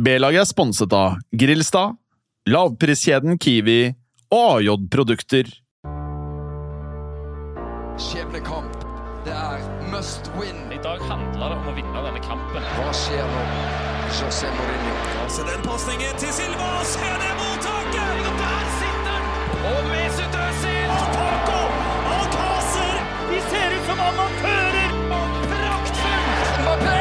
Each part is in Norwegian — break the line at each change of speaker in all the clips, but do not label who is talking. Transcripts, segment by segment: B-laget er sponset av Grilstad, lavpriskjeden Kiwi og AJ-produkter.
Skjebnekamp. Det er must win.
I dag handler det om å vinne denne kampen.
Hva skjer nå? José Mourinho.
Så den pasningen til Silva, og se det mottaket! Og der sitter den! Og Mesut Özil! Og Paco! Og Kaser! De ser ut som amatører! Og praktfullt! Mbappé!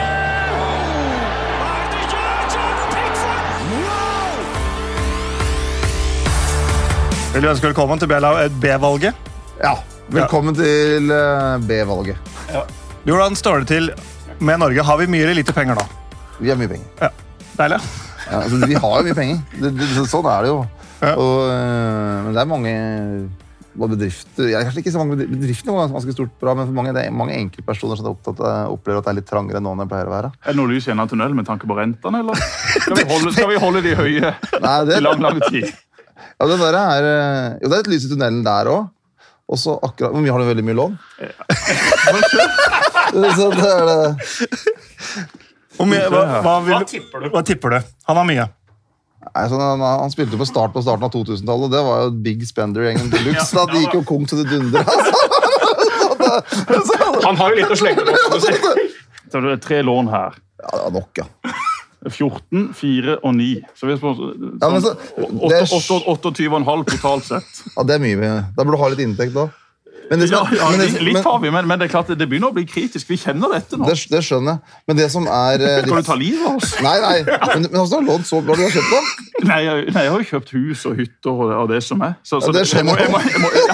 Hva er det du gjør, Jordan Pickford? Wow!
Vil du ønske velkommen til B-lag- eh, B-valget?
Ja, velkommen til eh, B-valget.
Hvordan står det til med Norge? Har vi mye eller lite penger nå?
Vi har mye penger.
Ja. Deilig.
Ja, altså, vi har jo mye penger. Det, det, så- sånn er det jo.
Ja.
Og, eh, men det er mange mange bedrifter ja, Kanskje ikke så mange bedri- bedriftene går ganske stort bra, men for mange, det er mange enkeltpersoner som er opptatt av, opplever at det er litt trangere nå enn det pleier å være.
Er det noe lys i enden av tunnelen med tanke på rentene, eller? Skal vi holde, skal vi holde de høye
Nei, det,
i lang, lang tid?
ja, det, der er, eh, jo, det er et lys i tunnelen der òg. Og så akkurat Men vi har jo veldig mye lån. så det er det.
Hvor mye, hva, hva, vil, hva, tipper du? Han har mye.
Nei, sånn, han, han spilte jo på start på starten av 2000-tallet, og det var jo big spender-gjengen til luxe. da. De gikk jo kong til det dundre. Altså.
Han har jo litt å slenge på. som du sier.
Så det er tre lån her.
Ja, det var nok, ja.
14, 4 og 9. Så vi er på
Ja, men
sånn,
så- det er-
28,5 totalt sett.
ja det er mye. med- Da burde du ha litt inntekt da. Men det,
Ja,
som-
ja,
men det,
litt, litt
men,
har vi, men, men det er klart det begynner å bli kritisk. Vi kjenner dette nå.
det, det skjønner jeg. Men det som er eh,
Skal du ta
litt...
livet av oss?
Nei, nei. Men, men altså, du har lånt så bra du har kjøpt den.
Nei, jeg, nei, jeg har jo kjøpt hus og hytter og, og det som er. Så, så
Ja, det
jeg må,
skjønner
jeg må, jeg må, jeg,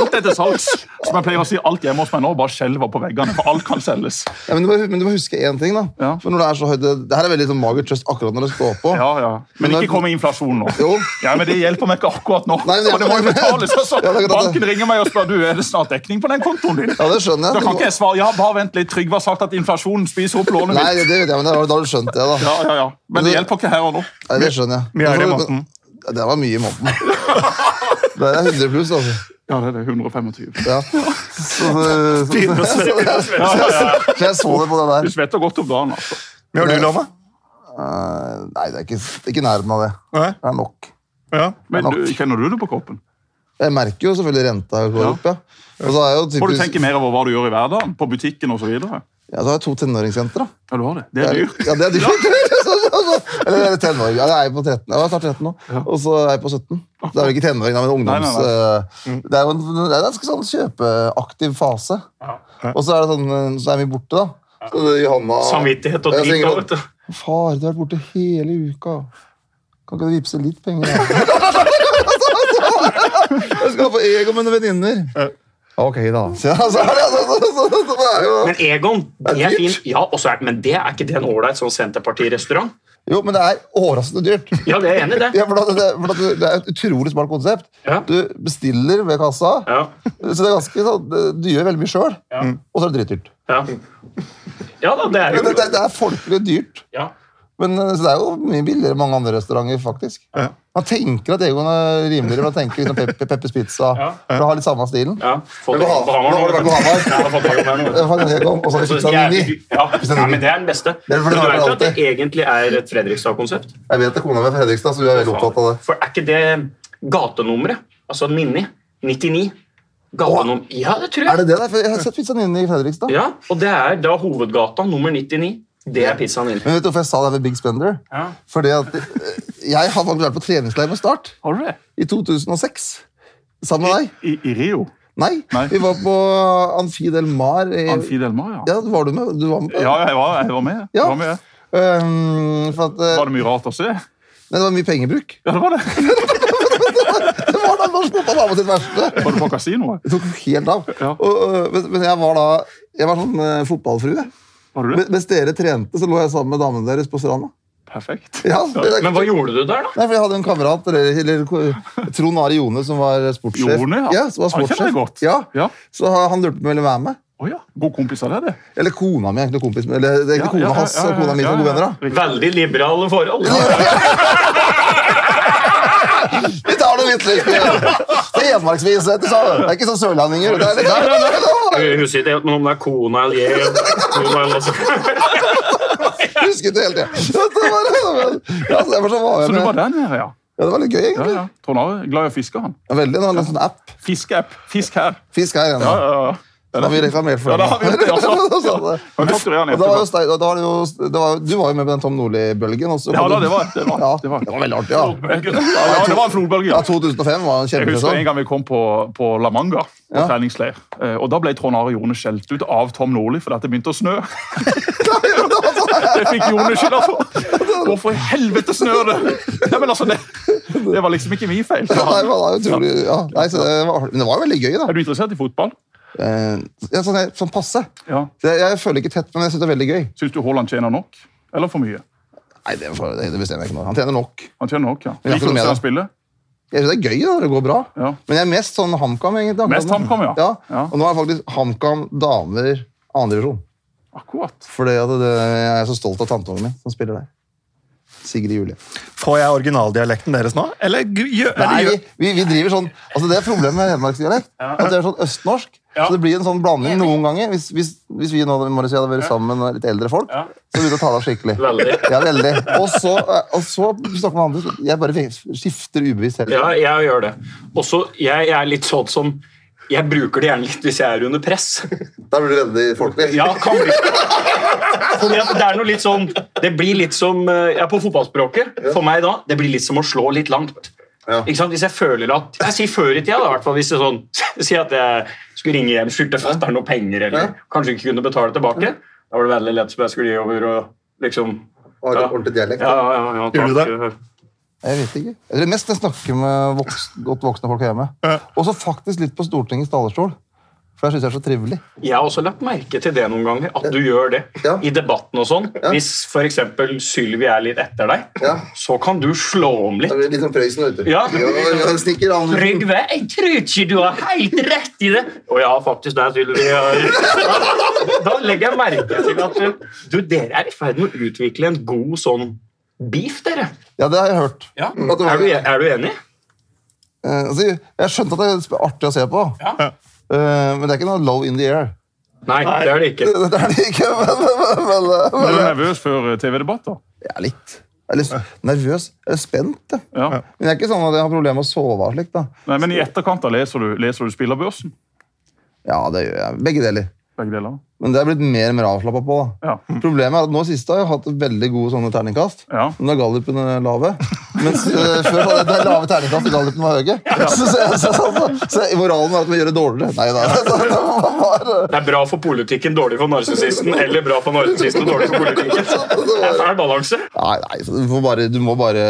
alt er til salgs. Som jeg pleier å si, alt hjemme hos meg nå bare skjelver på veggene, for alt kan selges.
Ja, men, du må, men du må huske én ting, da.
Ja.
For når det er så høyt, det, det her er veldig sånn mager trøst akkurat når det står på.
Ja, ja.
Men
Men
når-
ikke kom med inflasjon nå.
Jo.
Ja, men Det hjelper meg ikke akkurat nå.
Nei, men-
Og det må jo betales. Altså.
Ja, det er klart det.
Banken ringer meg og spør du, er det snart dekning på den kontoen din.
Ja, det skjønner jeg.
Da kan ikke jeg svare ja, bare vent litt. Trygve har sagt at inflasjonen spiser opp lånet
Nei,
mitt.
det, det vet jeg, men da da har du skjønt det, da.
Ja, ja, ja. Men det hjelper ikke her og nå.
Nei, det skjønner jeg.
Mye er det i
Men-
måneden.
Ja, Det var mye i måneden. Det er 100 pluss, altså.
Ja, det er det. 125.
Ja. Så, så, så,
Begynner å svette.
Ja, ja, ja.
så jeg så det på det der.
Du svetter godt om dagen. altså.
Mye har du lånet?
Eh, Nei, det er ikke, det er ikke i nærheten av det.
Nei?
Det er nok.
Ja.
Men du, kjenner du det på kroppen?
Jeg merker jo selvfølgelig renta går
Ja.
opp, ja. Og så har jeg jo
Får du
typisk,
tenke mer over hva du gjør i hverdagen? På butikken osv.? Ja,
ja, så har jeg to tenåringsjenter, da.
du har det. Det er dyrt.
Ja, det er dyrt. Eller det er tenåring. Ja, jeg er på 13. Ja, jeg er snart 13 nå. Og så er jeg på 17. Det er vel ikke tenåring, da, men ungdoms...
Nei,
eh, Det er jo en, det er en ganske sånn kjøpeaktiv fase. Og så er det sånn, eh, så er vi borte, da. Så det, Johanna...
Samvittighet og
Jeg
drit.
tenker
og vet du.
Far, du har vært borte hele uka. Kan ikke du vippse litt penger? da?» jeg skal på Ego med noen venninner. Ok, da. Så, så, altså- så, så, så, så, så, så, det er jo...
Men Egon, det er fint. Ja, og så er, men det er ikke det en ålreit sånn Senterparti-restaurant?
Jo, men det er overraskende dyrt.
Ja, det er jeg enig i det.
Ja, for det, det, for det, det er et utrolig smart konsept.
Ja.
Du bestiller ved kassa,
Ja,
så det er ganske sånn, det- du gjør veldig mye sjøl,
Ja.
og så er det dritdyrt.
ja. ja da, det er
Det,
jo
det, det er folkelig dyrt,
ja.
men eh, så det er jo mye billigere enn mange andre restauranter. faktisk. Man tenker at Egon er rimeligere, man tenker liksom Pep- Pep- Peppers Pizza.
Ja.
For det har litt samme stilen.
ja. Fått
Men
det
på
på Hamar
Hamar- nå har det vært på Hamar.
Ja, det har fått det på Hamar nå.
Det er faktisk Egon, og så har vi
Altså,
pizza
jævlig
Nini.
dyr- Ja, nei, men det er den beste.
er
Men
fordi
du
det er
vet jo at det
alltid.
egentlig er et Fredrikstad-konsept?
Jeg vet det, kona mi er fra Fredrikstad, så hun er veldig opptatt av det.
For er ikke det gatenummeret? Altså Ninni? 99? Gatenum ja, det tror jeg.
Er det det der? For Jeg har sett Pizza Nini i Fredrikstad.
Ja, Og det er da hovedgata nummer 99. Det er pizzaen din.
Men vet du hvorfor jeg sa det her med Big Spender?
Ja.
Fordi at eh, jeg har faktisk vært på treningsleir med Start.
Har du det?
i 2006. Sammen med deg?
I, i Rio?
Nei.
Nei.
Vi var på Amfi del Mar. i-
Amfi Del Mar, ja.
Ja, var du med? Du var med? på det?
Ja, jeg var, jeg var med. Jeg
Ja.
var, med.
Ehm, for at, eh,
var det mye rart å se?
nei, det var mye pengebruk.
Ja, det var det.
Det var da norsk fotball var på sitt verste!
Var du på kasinoet?
Det tok helt av.
Ja.
Og, øh, men- men jeg var da jeg var sånn eh, fotballfrue.
Var du det?
Men- Mens dere trente, så lå jeg sammen med damene deres på stranda.
Perfekt.
Ja, det, det,
Men hva gjorde du der, da?
Nei, for Jeg hadde en kamerat, eller, eller ko- Trond Ari Jone, som var sportssjef.
Jone, ja.
ja som var
Han kjenner jeg
sportssjef.
godt.
Ja.
Ja.
Så han lurte på om jeg ville være med.
Å ja. God kompis av deg, det.
Eller kona mi, egentlig kompis Eller det er egentlig kona hans og kona mi som er gode venner. da
Veldig liberale forhold.
Vi tar det litt litt Det er Hedmarksvis, vet du, sa du. Det er ikke sånn sørlendinger. Det er litt
Jeg husker ikke helt, men om det er kona eller jeg, kona eller altså.
Husket det hele tida. Ja, så derfor så var jeg
Så du var
med.
der nede, ja?
Ja, det var litt gøy,
ja,
egentlig.
ja. Trond Are er glad i å fiske, han.
Ja, Veldig. Nå har han en sånn app.
Fiskeapp. Fisk her.
Fisk her
Ja,
igjen.
ja, ja.
Da har vi reklamert for
Ja, da har vi gjort det, altså.
Sånn det.
Men vi fakturerer han
Og da var jo
etterpå.
Stein- da var det jo, det var, du var jo med på den Tom Nordli-bølgen. også.
Ja, da, det var- det var-
ja,
det var-
det var veldig artig, ja.
Ja, ja, det var en flodbølge.
Ja,
ja.
2005 var en
Jeg husker en
kjempesesong.
gang vi kom på, på La Manga, på
Ja.
treningsleir. Eh, Og da ble Trond Are Jone skjelt ut av Tom Nordli fordi det begynte å snø. Det fikk Jone skylda for. Hvorfor i helvete snør det?! Ja, men altså, det, det var liksom ikke min feil. sa
Nei, men
han.
det er jo utrolig, ja. Nei, så det var, men det var jo veldig gøy, da.
Er du interessert i fotball?
Eh, ja, sånn, jeg- sånn passe.
Ja.
Så Jeg, jeg føler ikke tett, men jeg syns det er veldig gøy.
Syns du Haaland tjener nok? Eller for mye?
Nei, det, får- det bestemmer jeg ikke nå. Han tjener nok.
Han tjener nok, ja.
Men jeg
Liker du å
følger
se
med,
han spille?
Jeg synes det er gøy da, når det går bra,
Ja.
men jeg er mest sånn HamKam, egentlig. akkurat
Mest
nå.
HamKam, ja.
ja.
Ja.
Og nå er faktisk HamKam damer andre divisjon.
Akkurat.
For det, det, jeg er så stolt av tanteungen min som spiller der. Sigrid Julie.
Får jeg originaldialekten deres nå? Eller gu- gjør
Nei,
eller
vi,
gjør-
vi, vi driver sånn, altså Det er problemet med hedmarksdialekt. At det er sånn østnorsk. Så det blir en sånn blanding noen ganger. Hvis, hvis, hvis vi nå Morris, og jeg hadde vært sammen med litt eldre folk, så ville vi tale skikkelig.
Veldig.
Ja, veldig. Og så, og så snakker man andre. Jeg bare skifter ubevisst hele tiden.
Ja, jeg gjør det. Også, jeg, jeg er litt sånn som Jeg bruker det gjerne litt hvis jeg er under press.
Da blir du veldig folkelig.
Ja, kan bli. Fordi at det er noe litt sånn Det blir litt som eh, Ja, på fotballspråket, for meg da, det blir litt som å slå litt langt.
Ja.
Ikke sant? Hvis jeg føler at Jeg sier før i tida, da, i hvert fall hvis det er sånn Si at jeg skulle ringe hjem, skyldte fatter'n noen penger, eller
Ja.
kanskje ikke kunne betale tilbake. Da var det veldig lett som jeg skulle gi over og liksom
Har
Ja.
ordentlig dialekt.
Ja, ja, ja,
Gjør du
takk.
Jeg vet ikke. Jeg tror mest jeg snakker med voks, godt voksne folk hjemme. Og så faktisk litt på Stortingets talerstol. For jeg syns jeg er så trivelig.
Jeg har også lagt merke til det noen ganger, at du gjør det
Ja.
i debatten og sånn. Hvis f.eks. Sylvi er litt etter deg,
Ja.
så kan du slå om litt.
Litt som Prøysen, vet du.
Ja. Ja,
snikker,
Trygve, jeg tror ikke du har helt rett i det! Og jeg har faktisk det, Sylvi. Da, da legger jeg merke til at du, du, dere er i ferd med å utvikle en god sånn beef, dere.
Ja, det har jeg hørt. At det var-
Er du, e- er du enig?
Eh, altså, jeg skjønte at det er sp- artig å se på,
Ja.
Eh, men det er ikke noe low in the air.
Nei, det er det ikke.
Det er det ikke, men, men, men, men,
Er du nervøs før eh, TV-debatter?
Jeg er litt jeg er litt nervøs. Jeg er spent. jeg.
Ja.
Men jeg er ikke sånn at jeg har problemer med å sove og slikt. da.
Nei, men i etterkant da leser du, leser du spillerbørsen?
Ja, det gjør jeg. Begge deler.
Begge deler.
Men det er blitt mer og mer avslappa på. da.
Ja.
Problemet er at nå siste har jeg hatt veldig gode sånne terningkast.
Ja.
Men da er gallupen eh, lave. Mens eh, før hadde jeg det lave terningkast, og gallupen var høye. Så, så, så, så, så, så moralen var at vi gjør det dårligere. Nei da. Så, det var, eh,
Det er bra for politikken, dårlig for narsissisten, eller bra for narsissisten, dårlig for politikken. Det er fæl balanse.
Nei, nei så du, får bare, du må bare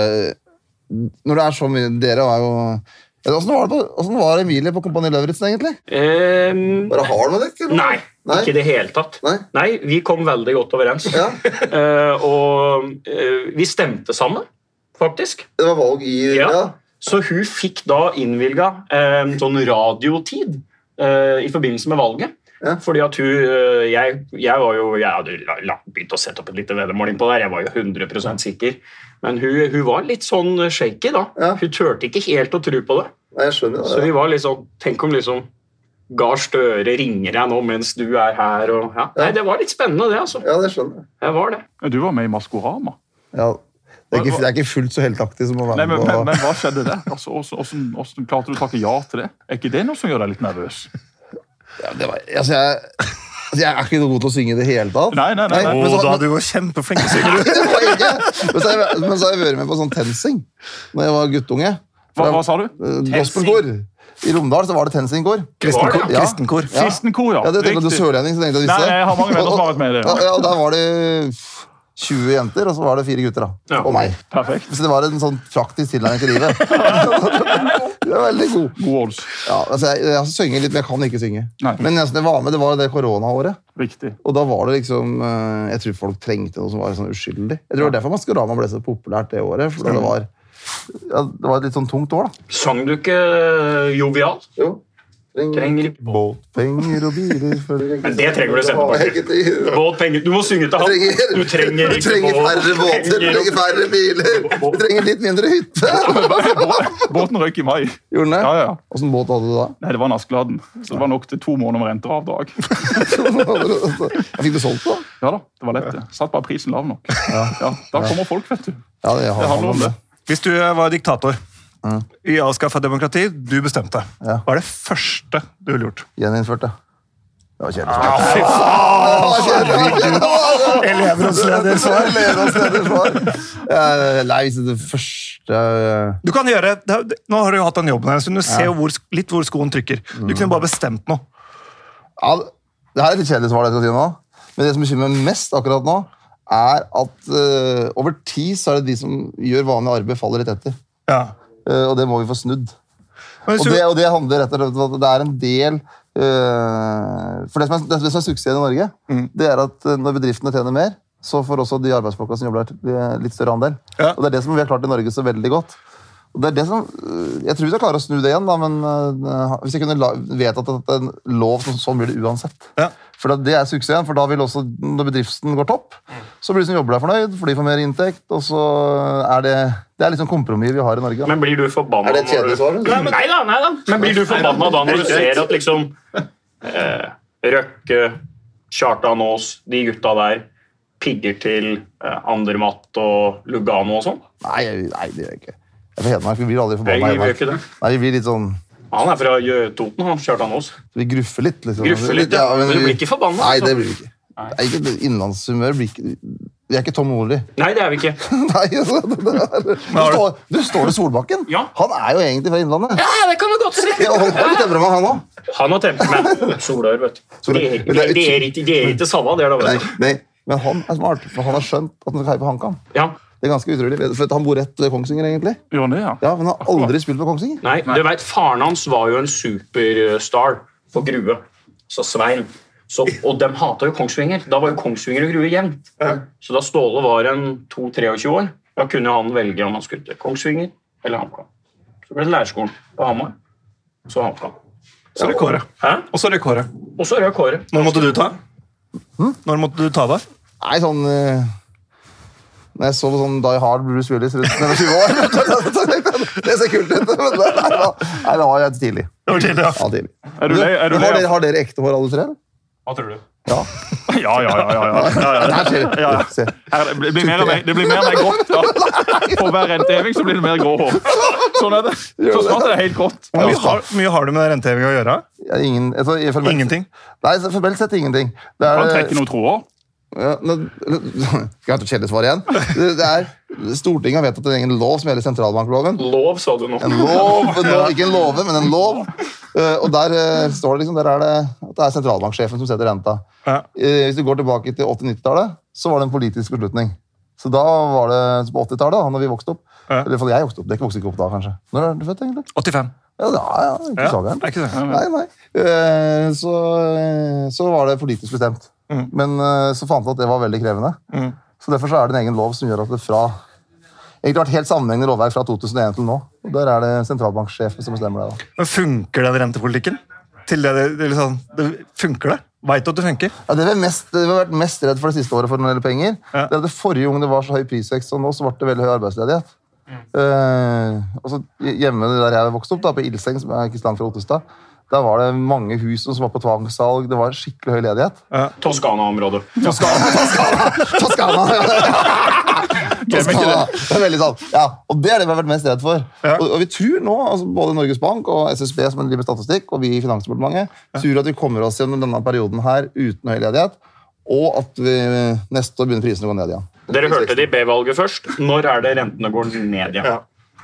Når det er så mye Dere var jo Ja, Åssen var, det på- hvordan var Emilie på Kompani Lauritzen, egentlig?
Ehm,
Bare har du det? Ikke?
Nei, ikke i det hele tatt.
Nei.
vi kom veldig godt overens.
Ja.
Eh, og eh, vi stemte sammen, faktisk.
Det var valg i
Ja. Så hun fikk da innvilga eh, sånn radiotid eh, i forbindelse med valget.
Ja.
Fordi at hun eh, jeg, jeg var jo Jeg hadde la- la- begynt å sette opp et lite veddemål på det her, jeg var jo 100 sikker. Men hun, hun var litt sånn shaky, da.
Ja.
Hun turte ikke helt å tro på det.
Nei, jeg skjønner
Så vi var liksom Tenk om liksom Gahr Støre ringer deg nå mens du er her og ja. Nei, det var litt spennende, det, altså.
Ja, det skjønner jeg.
Det var det.
Ja, Du var med i Maskorama.
Ja. Det, er ikke, det er ikke fullt så heltaktig som å
Nei,
være
men,
med
men,
på
men hva skjedde der? Altså, hvordan, hvordan, hvordan klarte du å takke ja til det? Er ikke det noe som gjør deg litt nervøs?
ja, det var, altså, jeg, altså, jeg er ikke noe god til å synge i det hele tatt.
Nei, nei, nei, nei.
men så-
Å, da er du jo kjempeflink til å synge.
Det var jeg ikke. Men så har jeg, men så har jeg vært med på sånn TenSing når jeg var guttunge.
Hva, hva sa du?
Eh, Gospelkor. I Romdal så var det TenSing-kor.
Kristenkor.
Ja.
Kristenkor.
Ja.
Kristenkor, ja.
Ja, det tenkte jeg, du er
Riktig.
sørlending, så tenkte jeg
Nei,
visste det.
jeg har mange venner som har vært med i det, ja.
Ja, ja, og der var det pff, 20 jenter, og så var det fire gutter, da.
Ja.
Og meg.
Perfekt.
Så det var en sånn praktisk tilnærming til livet. Det var veldig god.
God odds.
Ja, altså, jeg, jeg synger litt, men jeg kan ikke synge.
Nei.
Men jeg, det var med, det var det koronaåret.
Riktig.
Og da var det liksom eh, Jeg tror folk trengte noe som var sånn uskyldig. Jeg tror det var derfor Maskorama ble så populært det året. For det var, ja, det var et litt sånn tungt år, da.
Sang du ikke eh, jovial?
Jo.
Trenger ikke båt.
Båtpenger og biler følger
Men det trenger du å sende på.
på.
Båt, penger Du må synge til han. Du trenger
Du trenger færre båter, du trenger færre biler, du trenger litt mindre hytte.
Båten røyk i mai.
Gjorde den
Ja,
det?
ja.
Åssen båt hadde du da?
Nei, det var en Askeladden. Så det var nok til to måneder med renter og avdrag.
Jeg fikk du solgt det?
Ja da, det var lett det. Satt bare prisen lav nok. Ja, da kommer folk, vet du.
Ja, det har
Det handler om det.
Hvis du eh, var diktator i avskaffa demokrati, du bestemte.
Ja.
Hva er det første du ville gjort?
Gjeninnført, ja. Det var kjedelig.
Ja, fy faen! Elevrådsledersvar.
Elevrådsledersvar. Eh, Nei, hvis det første eh,
Du kan gjøre, det er- Nå har du jo hatt den jobben her, så du ser jo hvor, litt hvor skoen trykker. Du kunne bare bestemt noe.
Ja, det her er et litt kjedelig svar, det jeg skal si nå. Men det som bekymrer meg mest akkurat nå, er at eh, over tid så er det de som gjør vanlig arbeid, faller litt etter.
Ja.
Eh, og det må vi få snudd.
Men hvis
Og
du,
det, og det handler rett og slett om at det er en del eh, For det som er, det som er suksessen i Norge,
Mm.
det er at eh, når bedriftene tjener mer, så får også de arbeidsfolka som jobber der, eh, litt større andel.
Ja.
Og det er det som vi har klart i Norge så veldig godt. Og det er det som, eh, jeg tror vi skal klare å snu det igjen, da, men eh, hvis jeg kunne la- vedtatt at en lov som sånn blir det uansett.
Ja.
For det- det er suksessen, for da vil også, når bedriften går topp,
Mm.
så blir de som jobber der fornøyd, for de får mer inntekt, og så er det Det er liksom kompromiss vi har i Norge. da.
Men blir du forbanna
Er det et
når
kjedelig
du-
svar, eller?
Nei, men- Nei da, nei da. Men blir du forbanna da når du ser at liksom eh, Røkke, Kjartan Aas, de gutta der pigger til eh, Andermatt og Lugano og sånn?
Nei, jeg- nei, det gjør jeg ikke. Jeg er fra Hedmark. Vi blir aldri
Jeg
forbanna i
gjør
Hedmark.
ikke det.
Nei, vi blir litt sånn
Han er fra Jø- Toten, han Kjartan Aas.
Vi gruffer litt, liksom.
Gruffer litt, ja. Men du
vi-
blir ikke forbanna,
Nei,
altså.
det blir vi ikke. Det er ikke det innlandshumør. blir ikke- Vi er ikke Tom Nordli.
Nei, det er vi ikke.
Nei, altså, det der. Du, står, du står det Solbakken.
Ja.
Han er jo egentlig fra Innlandet.
Ja, det kan du godt si.
Ja, han har litt temperament, han òg.
Han har temperament. Solør, vet du.
Solør.
Det er- det er- det er ikke- det er ikke samme, det er det.
Nei,
vet du.
nei, men han er smart, for han har skjønt at han skal heie på HamKam.
Ja.
Det er ganske utrolig, for Han bor rett ved Kongsvinger, egentlig.
Gjør han det, ja?
Ja, Men han har aldri spilt på Kongsvinger.
Nei, du vet, faren hans var jo en superstar på Grue. Så Svein. Så, og de hata jo Kongsvinger. Da var jo Kongsvinger og Grue jevnt. Så da Ståle var en 2-23 år, da kunne han velge om han skulle til Kongsvinger eller HamKam. Så ble det lærerskolen på Hamar. Så HamKam.
så er det Kåre.
Hæ?
Og så er det Kåre.
Og så Rød Kåre.
Når måtte du ta? Når måtte du ta det?
Nei, sånn eh, Når jeg så på sånn Die Hard Bruce Willis rundt når jeg var 20 år Det ser kult ut, men det, nei, da, nei, da var jeg tidlig.
Det var tidlig, ja.
Ja, tidlig.
Er du lei? Er du lei?
har, dere, har dere ekte hår, alle tre?
Hva tror du?
Ja.
Ja, ja, ja. ja, ja. ja, ja.
Det her ser vi.
Ja.
Se.
Her, det, blir mer og mer, det blir mer og mer grått. Ja. For hver renteheving så blir det mer grå hår. Sånn er det. Så snart er det helt grått.
Hvor mye har, mye har du med rentehevinga å gjøre?
Ja, ingen, altså, jeg formelt,
Ingenting.
Nei, så formelt sett ingenting. Det
Han
er,
trekker noen tråder.
ja, nå, skal jeg ha et kjedelig svar igjen? Det, det er, Stortinget har vedtatt en egen lov som gjelder sentralbankloven.
Lov, sa du nå.
En lov, en lov, ikke en låve, men en lov. Eh, og der eh, står det liksom, der er det at det er sentralbanksjefen som setter renta.
Ja.
Eh, hvis du går tilbake til 80-90-tallet, så var det en politisk beslutning. Så da var det så på 80-tallet, da når vi vokste opp.
Ja.
Eller i hvert fall jeg vokste opp. Dere vokste ikke opp da, kanskje. Når er du født, egentlig?
85.
Ja, da, ja, ikke
Ja,
så
det
gærent.
er ikke det.
Nei, nei. Eh, så, eh, så var det politisk bestemt.
Mm.
Men eh, så fant vi at det var veldig krevende.
Mm.
Så derfor så er det en egen lov som gjør at det fra Egentlig har det vært helt sammenhengende lovverk fra 2001 til nå. Og Der er det sentralbanksjefen som bestemmer det. da.
Men funker den rentepolitikken? Til det, det, det, liksom, det funker det? Veit du at det funker?
Ja, det vi, er mest, det vi har vært mest redd for det siste året for når det gjelder penger,
Ja.
det er at det forrige gang det var så høy prisvekst som nå, så ble det veldig høy arbeidsledighet.
Mm.
Eh, og så hjemme der jeg vokste opp, da, på Ilseng, som er ikke så langt fra Ottestad, der var det mange hus som var på tvangssalg. Det var skikkelig høy ledighet.
Toskana-området.
Toskana, Toskana, Toskana! ja, ja. Toskana. Det er veldig sant. Ja, og det er det vi har vært mest redd for. Og, og vi tror nå, altså både Norges Bank og SSB som driver med statistikk, og vi i Finansdepartementet, tror at vi kommer oss gjennom denne perioden her uten høy ledighet, og at vi neste år begynner prisene å gå ned igjen.
Dere hørte det i B-valget først. Når er det rentene går ned igjen?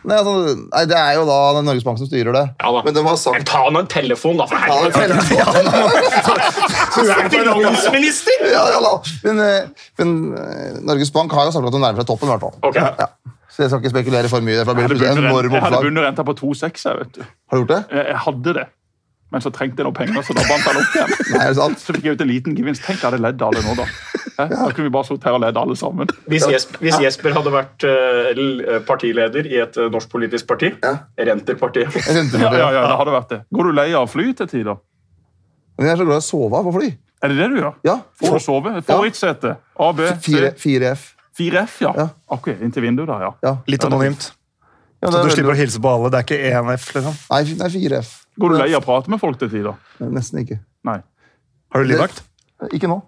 Nei, altså, nei, det er jo da det er Norges Bank som styrer det.
Ja da.
Men de har sagt
Ta nå en telefon, da, for
Ja, det
helvete!
er veldig-
Du er finansminister!
ja, ja, da. men, eh, men eh, Norges Bank har jo sagt at de nærmer seg toppen, i hvert fall.
Ok,
Så jeg skal ikke spekulere for mye. for Det
Jeg
blir plutselig
hadde bundet
enorme
renta- jeg hadde
oppslag.
bundet renta på 2,6. jeg, vet du.
Har du gjort det?
Jeg, jeg hadde det, men så trengte jeg noen penger, så da bandt han opp igjen.
Nei, er det sant?
Så fikk jeg ut en liten gevinst. Tenk, jeg hadde ledd av det nå, da. Hæ? Da kunne vi bare sittet her og ledd alle sammen.
Hvis Jesper, hvis Jesper hadde vært eh, l- partileder i et eh, norsk politisk parti, Renterpartiet
Jeg kjente
Ja,
på det.
ja, ja, det hadde vært det. Går du lei av fly til tider?
Men jeg er så glad i å sove på fly.
Er det det du gjør?
Ja.
For å sove?
Ja.
For ett sete? A, B, C?
4F.
4F, ja.
Ja.
Ok, inntil vinduet der, ja.
Ja.
Litt anonymt.
Ja,
Så
det er
du
veldig
slipper
bra.
å hilse på alle. Det er ikke ENF, liksom.
Nei, fi- nei, 4F.
Går du lei av å prate med folk til tider?
Nei, Nesten ikke.
Nei.
Har du livvakt?
Ikke nå.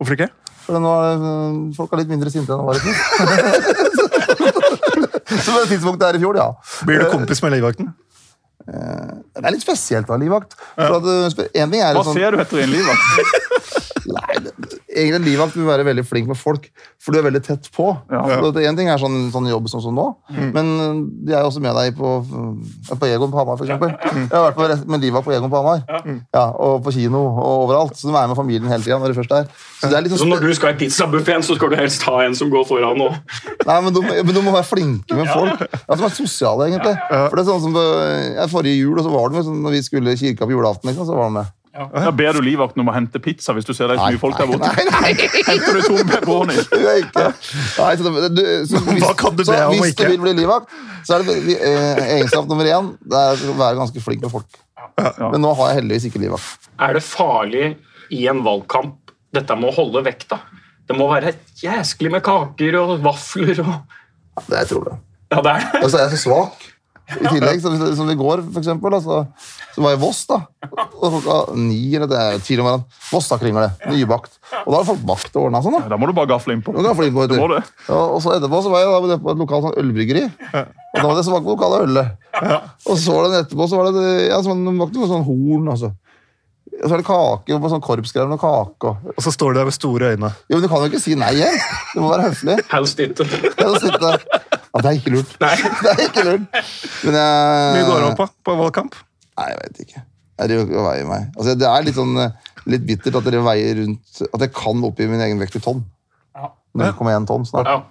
Hvorfor ikke?
For nå er det, øh, folk er litt mindre sinte enn de var i fjor. Så på det tidspunktet her i fjor, ja. Eh,
Blir du kompis med livvakten?
Det er litt spesielt å ha livvakt. For at, øh, spe- en ting er
Hva
sånn,
ser du etter i en livvakt?
Nei, det, egentlig en livvakt vil være veldig flink med folk, for du er veldig tett på.
Ja.
For at en ting er sånn, sånn jobb som sånn nå, men øh, de er jo også med deg på, øh, på Egon på Hamar, for eksempel. Jeg har vært på, rest- med livvakt på Egon på Hamar, ja. og på kino og overalt. Så du er med familien hele tiden når du først er. Så det er litt
Så
sånn,
når du skal i pizzabuffeen, så skal du helst ha en som går foran og
Nei, men de, men de må være flinke med folk. Ja, som er sosiale, egentlig. For det er sånn som på, ja, Forrige jul og så var de med, sånn, når vi skulle i kirka på julaften, liksom, så var de med.
Da ber du livvakten om å hente pizza hvis du ser det er så mye folk der borte.
nei, nei,
Henter du tom pepperoni?
det gjør jeg ikke. Nei, så det, du, så, hvis,
hva kan du
så
be om å
hvis du
ikke?
vil bli livvakt, så er det vi- eh, egenskap nummer én det er å være ganske flink med folk. Men nå har jeg heldigvis ikke livvakt.
Er det farlig i en valgkamp dette med å holde vekta? Det må være jæsklig med kaker og vafler og
Det er jeg tror det.
Ja, det er det.
Altså, jeg er så svak. I tillegg, så, som i går, for eksempel, altså, så var jeg i Voss, da. Og klokka ni, eller det er tvil om hverandre. Vossakringle, nybakt. Og da har folk bakt og ordna sånn, da.
Da må du bare gafle innpå.
Og, gaffel innpå, vet
Du
du.
må det.
Ja, og så etterpå så var jeg da på et lokalt sånn ølbryggeri. Og da var det smak på lokale ølet. Og så var det etterpå så var det ja, sånn, det var ikke noe sånn horn, altså. Og så er det kake, og sånn korpsgreier med kake. og-
Og så står du der med store øyne.
Jo, men du kan jo ikke si nei igjen. Du må være høflig.
Helst ikke.
Det er, å sitte der. ja, det er ikke lurt.
Nei.
Det er ikke lurt. Men jeg
Mye går opp på på valgkamp.
Nei, jeg vet ikke. Jeg driver ikke og veier meg. Altså, det er litt sånn eh, litt bittert at dere veier rundt At jeg kan oppgi min egen vekt i tonn. 0,1 tonn snart.
Ja.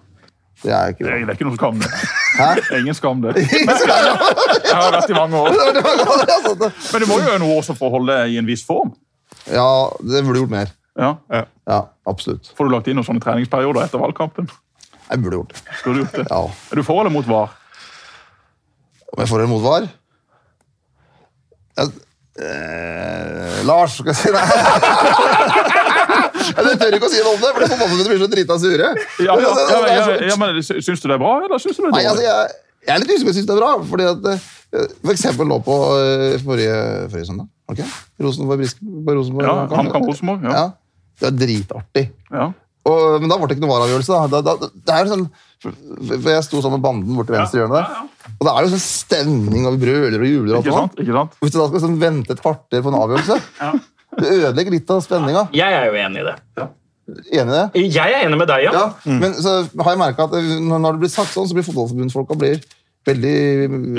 Det er ikke
Det
bra.
er det er ikke noe skam, det.
Hæ?
Ingen skam, det. Jeg har vært i mange år.
altså.
Men du må jo gjøre noe også for å holde deg i en viss form.
Ja, det burde gjort mer.
Ja.
Ja, absolutt.
Får du lagt inn noen sånne treningsperioder etter valgkampen?
Jeg burde gjort det.
Skulle du gjort det?
Ja.
Er du for eller mot VAR?
Om jeg får en motvar? Jeg, eh, Lars, skal jeg si nei. Jeg tør ikke å si noe om det, for fotballforbundet blir så drita sure.
Ja, ja, ja,
Det er
ja,
så-
ja, men sy- Syns du det er bra, eller syns du det er
altså, Nei, altså,
dårlig?
jeg, jeg er litt usikker på om jeg synes det er bra. Fordi at, eh, for eksempel nå på eh, forrige, forrige søndag. ok? Rosenborg Brisk. på Rosenborg,
Ja, HamKam Rosenborg.
Ja.
Ja.
Det var dritartig.
Ja.
Og, men da ble det ikke noen vareavgjørelse. Da. Da, da, det er jo sånn, for, for jeg sto sammen med banden borti venstre hjørne der. Og det er jo sånn stemning, og vi brøler og jubler. og alt
Ikke sant?
sånt.
Ikke sant?
Hvis du da skal sånn, vente et kvarter på en avgjørelse, det ødelegger litt av spenninga.
Jeg er jo enig i det.
Enig i det?
Jeg er enig med deg, ja.
Ja, Men så har jeg merka at eh, når når det blir sagt sånn, så blir fotballforbundsfolka blir veldig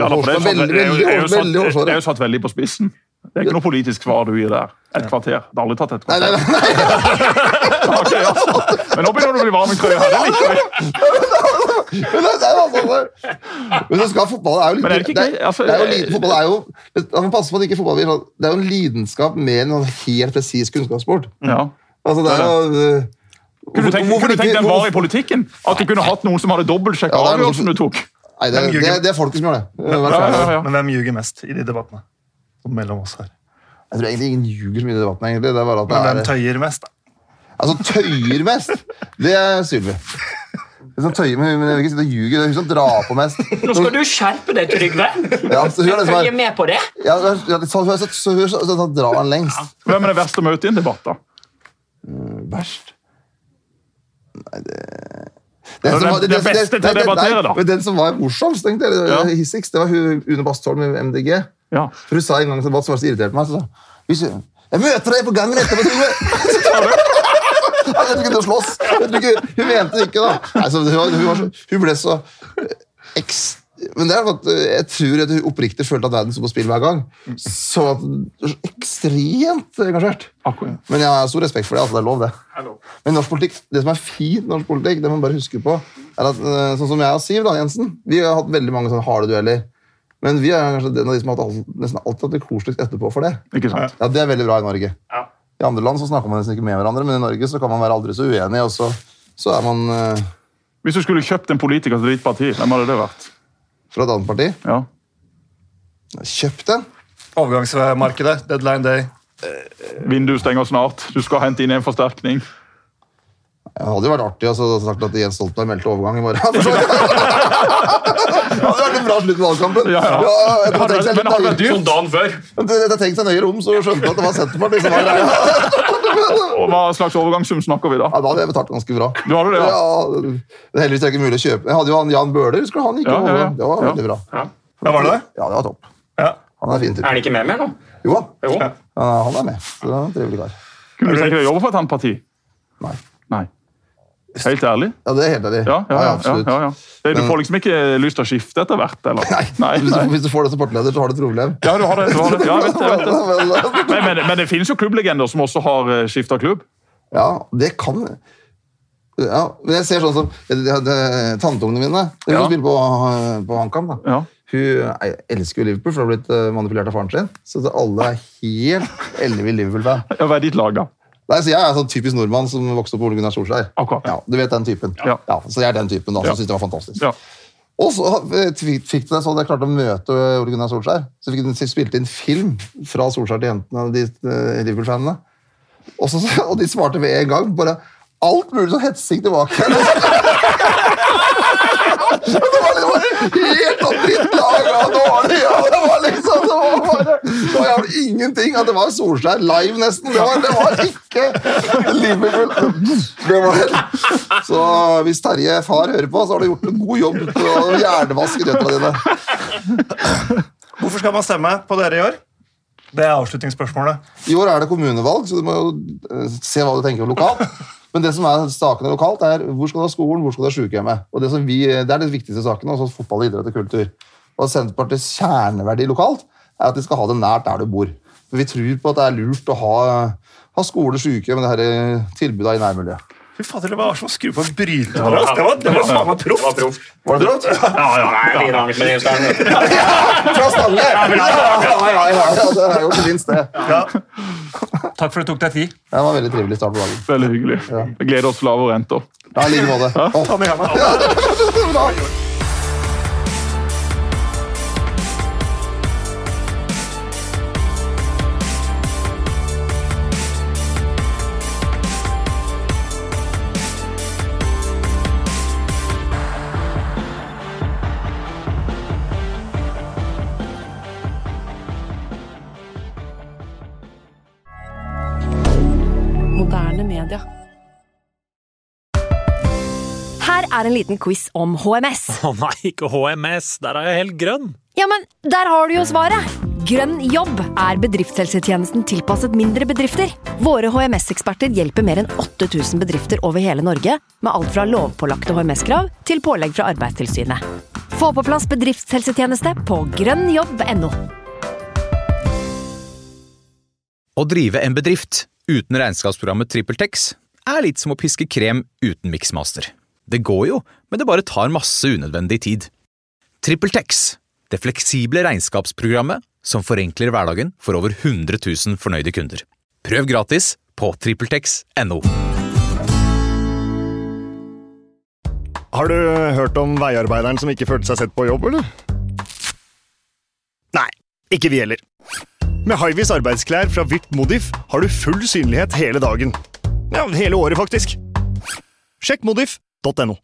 Ja, da, for det er jo satt-
veldig,
det er jo-
veldig,
det er jo satt-
veldig
det er
hårsåre.
jo satt veldig på spissen. Det er ikke noe politisk svar du gir der. Et kvarter. Det har aldri tatt et
Nei, nei,
kvarter.
nei, nei.
Ok, altså. Men nå begynner du å bli varm i trøya. Det liker vi.
Men det, det er jo altså, men så skal fotball er jo,
Men er det ikke greit? Altså,
det er jo, li- fotball er jo Man må passe på at ikke fotball blir sånn Det er jo en lidenskap mer enn en helt presis kunnskapssport.
Ja.
Altså, det er jo eh,
Kunne du tenkt,
hvorfor
kunne du tenkt
ikke-
den var i
hvorfor-
politikken? At du kunne hatt noen som hadde dobbeltsjekka
Ja, det er noen som-
avgjørelsen du tok?
Nei, det, er-
Den ljuger.
det, er- det er folket som gjør det. Eh, hvert
Ja,
fall.
ja, ja.
Men hvem ljuger mest i de debattene? Sånn Mellom oss her.
Jeg tror egentlig ingen ljuger så mye i debatten, egentlig. Det er bare at
Men hvem
det er,
tøyer mest? da?
altså, tøyer mest, det er Sylvi. Hun som tøyer, men hun vil ikke sitte og ljuge. Det er hun som drar på mest.
Nå skal du skjerpe deg, Trygve.
Ja, så hun er den som er-
Følg med på det.
Ja, det er- ja, det er sånn- så- så- så- så- så drar han lengst.
Hvem er det verste å møte i en debatt, da?
Mm, Verst? Nei,
Ja,
det
den-
var-
den
det- det-
beste til å
nei, nei,
debattere,
nei,
da.
Men den som var morsomst, tenkte jeg,
Ja.
eller hissigst, det var hun Une Bastholm i MDG.
Ja.
For hun sa en gang i en debatt som var så irritert meg, så sa hun, Hvis jeg, jeg møter deg på gangen etterpå, Trygve! Jeg skulle til å slåss. Jeg tror ikke, hun mente det ikke, da. Nei, så hun, var- hun, var så, hun ble så ekst... Men det er for at eh, jeg tror at hun oppriktig følte at verden sto på spill hver gang. Så at hun var så ekstremt engasjert.
Akkurat.
Men jeg har stor respekt for det. altså det er lov det. Men norsk politikk, det som er fint med norsk politikk, det må man bare huske på, er at eh, sånn som jeg og Siv da, Jensen, vi har hatt veldig mange sånne harde dueller. Men vi er kanskje den av de som har hatt alt, nesten alltid hatt det koseligst etterpå for det.
Ikke sant?
Ja, Det er veldig bra i Norge. I andre land så snakker man nesten ikke med hverandre, men i Norge så kan man være aldri så uenig, og så, så er man eh,
Hvis du skulle kjøpt en politiker til ditt parti, hvem hadde det vært?
fra et annet parti.
Ja.
Kjøp den!
Overgangsmarkedet. Deadline day.
Vinduet stenger snart. Du skal hente inn en forsterkning.
Det hadde jo vært artig altså, å sagt at Jens Stoltenberg meldte overgang i morgen. det hadde vært en bra slutt på valgkampen.
Ja, ja.
etter å ha tenkt seg litt
Men hadde det
nøye-
vært dyrt?
Dagen før.
etter å ha tenkt seg nøye rom, så skjønte jeg at det var Senterpartiet som var greia.
Og hva slags overgangssum snakker vi da?
Ja, da hadde jeg betalt ganske bra.
Du hadde det, ja.
ja. det er Heldigvis er det ikke mulig å kjøpe. Jeg hadde jo han Jan Bøhler, husker du? Han gikk
Ja,
jo
ja,
overgang. Det
ja.
var
Ja.
veldig bra.
Ja, var det det?
Ja, det var topp.
Ja.
Han er fin
Er
type.
han ikke med mer nå?
Jo da,
Jo.
Ja, han er med. Så det er en trivelig kar.
Kunne du tenke deg å jobbe for et annet parti?
Nei.
Nei. Helt ærlig?
Ja, det er helt ærlig.
Ja, ja, ja. ja,
absolutt. Mm.
ja, ja. Det- Du får liksom ikke lyst til å skifte etter hvert, eller?
Nei, hvis, du,
nei.
hvis du får det som partileder, så har du et problem.
Ja, du har det. Du har det. Ja, jeg vet det, jeg vet det.
Men-
Men, men, men det finnes jo klubblegender som også har skifta klubb.
Ja, det kan ja, men jeg ser sånn som det, det, det, Tanteungene mine De
Ja.
som spiller på, eh, på HamKam. da.
Ja.
Hun eh, elsker jo Liverpool, for hun har blitt eh, manipulert av faren sin. Så det- alle er helt ellevill Liverpool-fan.
Ja, Hva er ditt lag, da?
Nei, så Jeg er sånn typisk nordmann som vokste opp på Ole Gunnar Solskjær.
Akkurat.
Ja, du vet den typen.
Ja.
så jeg er den typen da, som
Ja.
syntes det var fantastisk.
Ja.
Og så eh, fikk fikk det sånn at jeg klarte å møte Ole Gunnar Solskjær. Så fikk de spilt inn film fra Solskjær til jentene, de eh, Liverpool-fanene. Og, så- og de svarte med en gang. bare Alt mulig sånn hetsing tilbake. det var liksom bare helt sånn drittlag. Ja, det var det, ja, det var liksom det var bare, det var jævlig ingenting. At det var Solskjær live, nesten. Det var, det var ikke Liverpool. Det var, så hvis Terje far hører på, så har du gjort en god jobb på å hjernevaske døtrene dine.
Hvorfor skal man stemme på dere i år? Det er avslutningsspørsmålet.
I år er det kommunevalg, så du må jo eh, se hva du tenker om lokalt. Men det som er sakene lokalt, er hvor skal du ha skolen, hvor skal du ha sykehjemmet. Og det, som vi, eh, det er de viktigste sakene, også fotball, idrett og kultur. Og Senterpartiets kjerneverdi lokalt er at de skal ha det nært der du bor. For vi tror på at det er lurt å ha, ha skole, sykehjem, det her eh, tilbudet i nærmiljøet.
Fy fader, det var som å skru på en bryter. Det var, det var faen meg
Det var
proft!
proff.
Var det rått?
Ja, ja, Nei, fire dager med Jens Arne.
Fra Stange! Ja, ja, ja, ja, ja, det er jo ikke minst det.
Ja. Takk for at du tok deg tid.
Det var en veldig trivelig start på dagen.
Veldig hyggelig. Jeg gleder oss til lave renter.
Ja, i like måte. Å,
Ta den i hånda.
Moderne media.
Her er en liten quiz om HMS.
Å nei, ikke HMS. Der er jeg helt grønn.
Ja, men der har du jo svaret! Grønn jobb er bedriftshelsetjenesten tilpasset mindre bedrifter. Våre HMS-eksperter hjelper mer enn 8000 bedrifter over hele Norge med alt fra lovpålagte HMS-krav til pålegg fra Arbeidstilsynet. Få på plass bedriftshelsetjeneste på grønnjobb.no.
Å drive en bedrift uten regnskapsprogrammet TrippelTex er litt som å piske krem uten miksmaster. Det går jo, men det bare tar masse unødvendig tid. TrippelTex, det fleksible regnskapsprogrammet som forenkler hverdagen for over 100 000 fornøyde kunder. Prøv gratis på TrippelTex.no.
Har du hørt om veiarbeideren som ikke følte seg sett på jobb, eller? Nei, ikke vi heller. Med Highvis arbeidsklær fra Virt Modif har du full synlighet hele dagen. Ja, hele året, faktisk. Sjekk modif.no.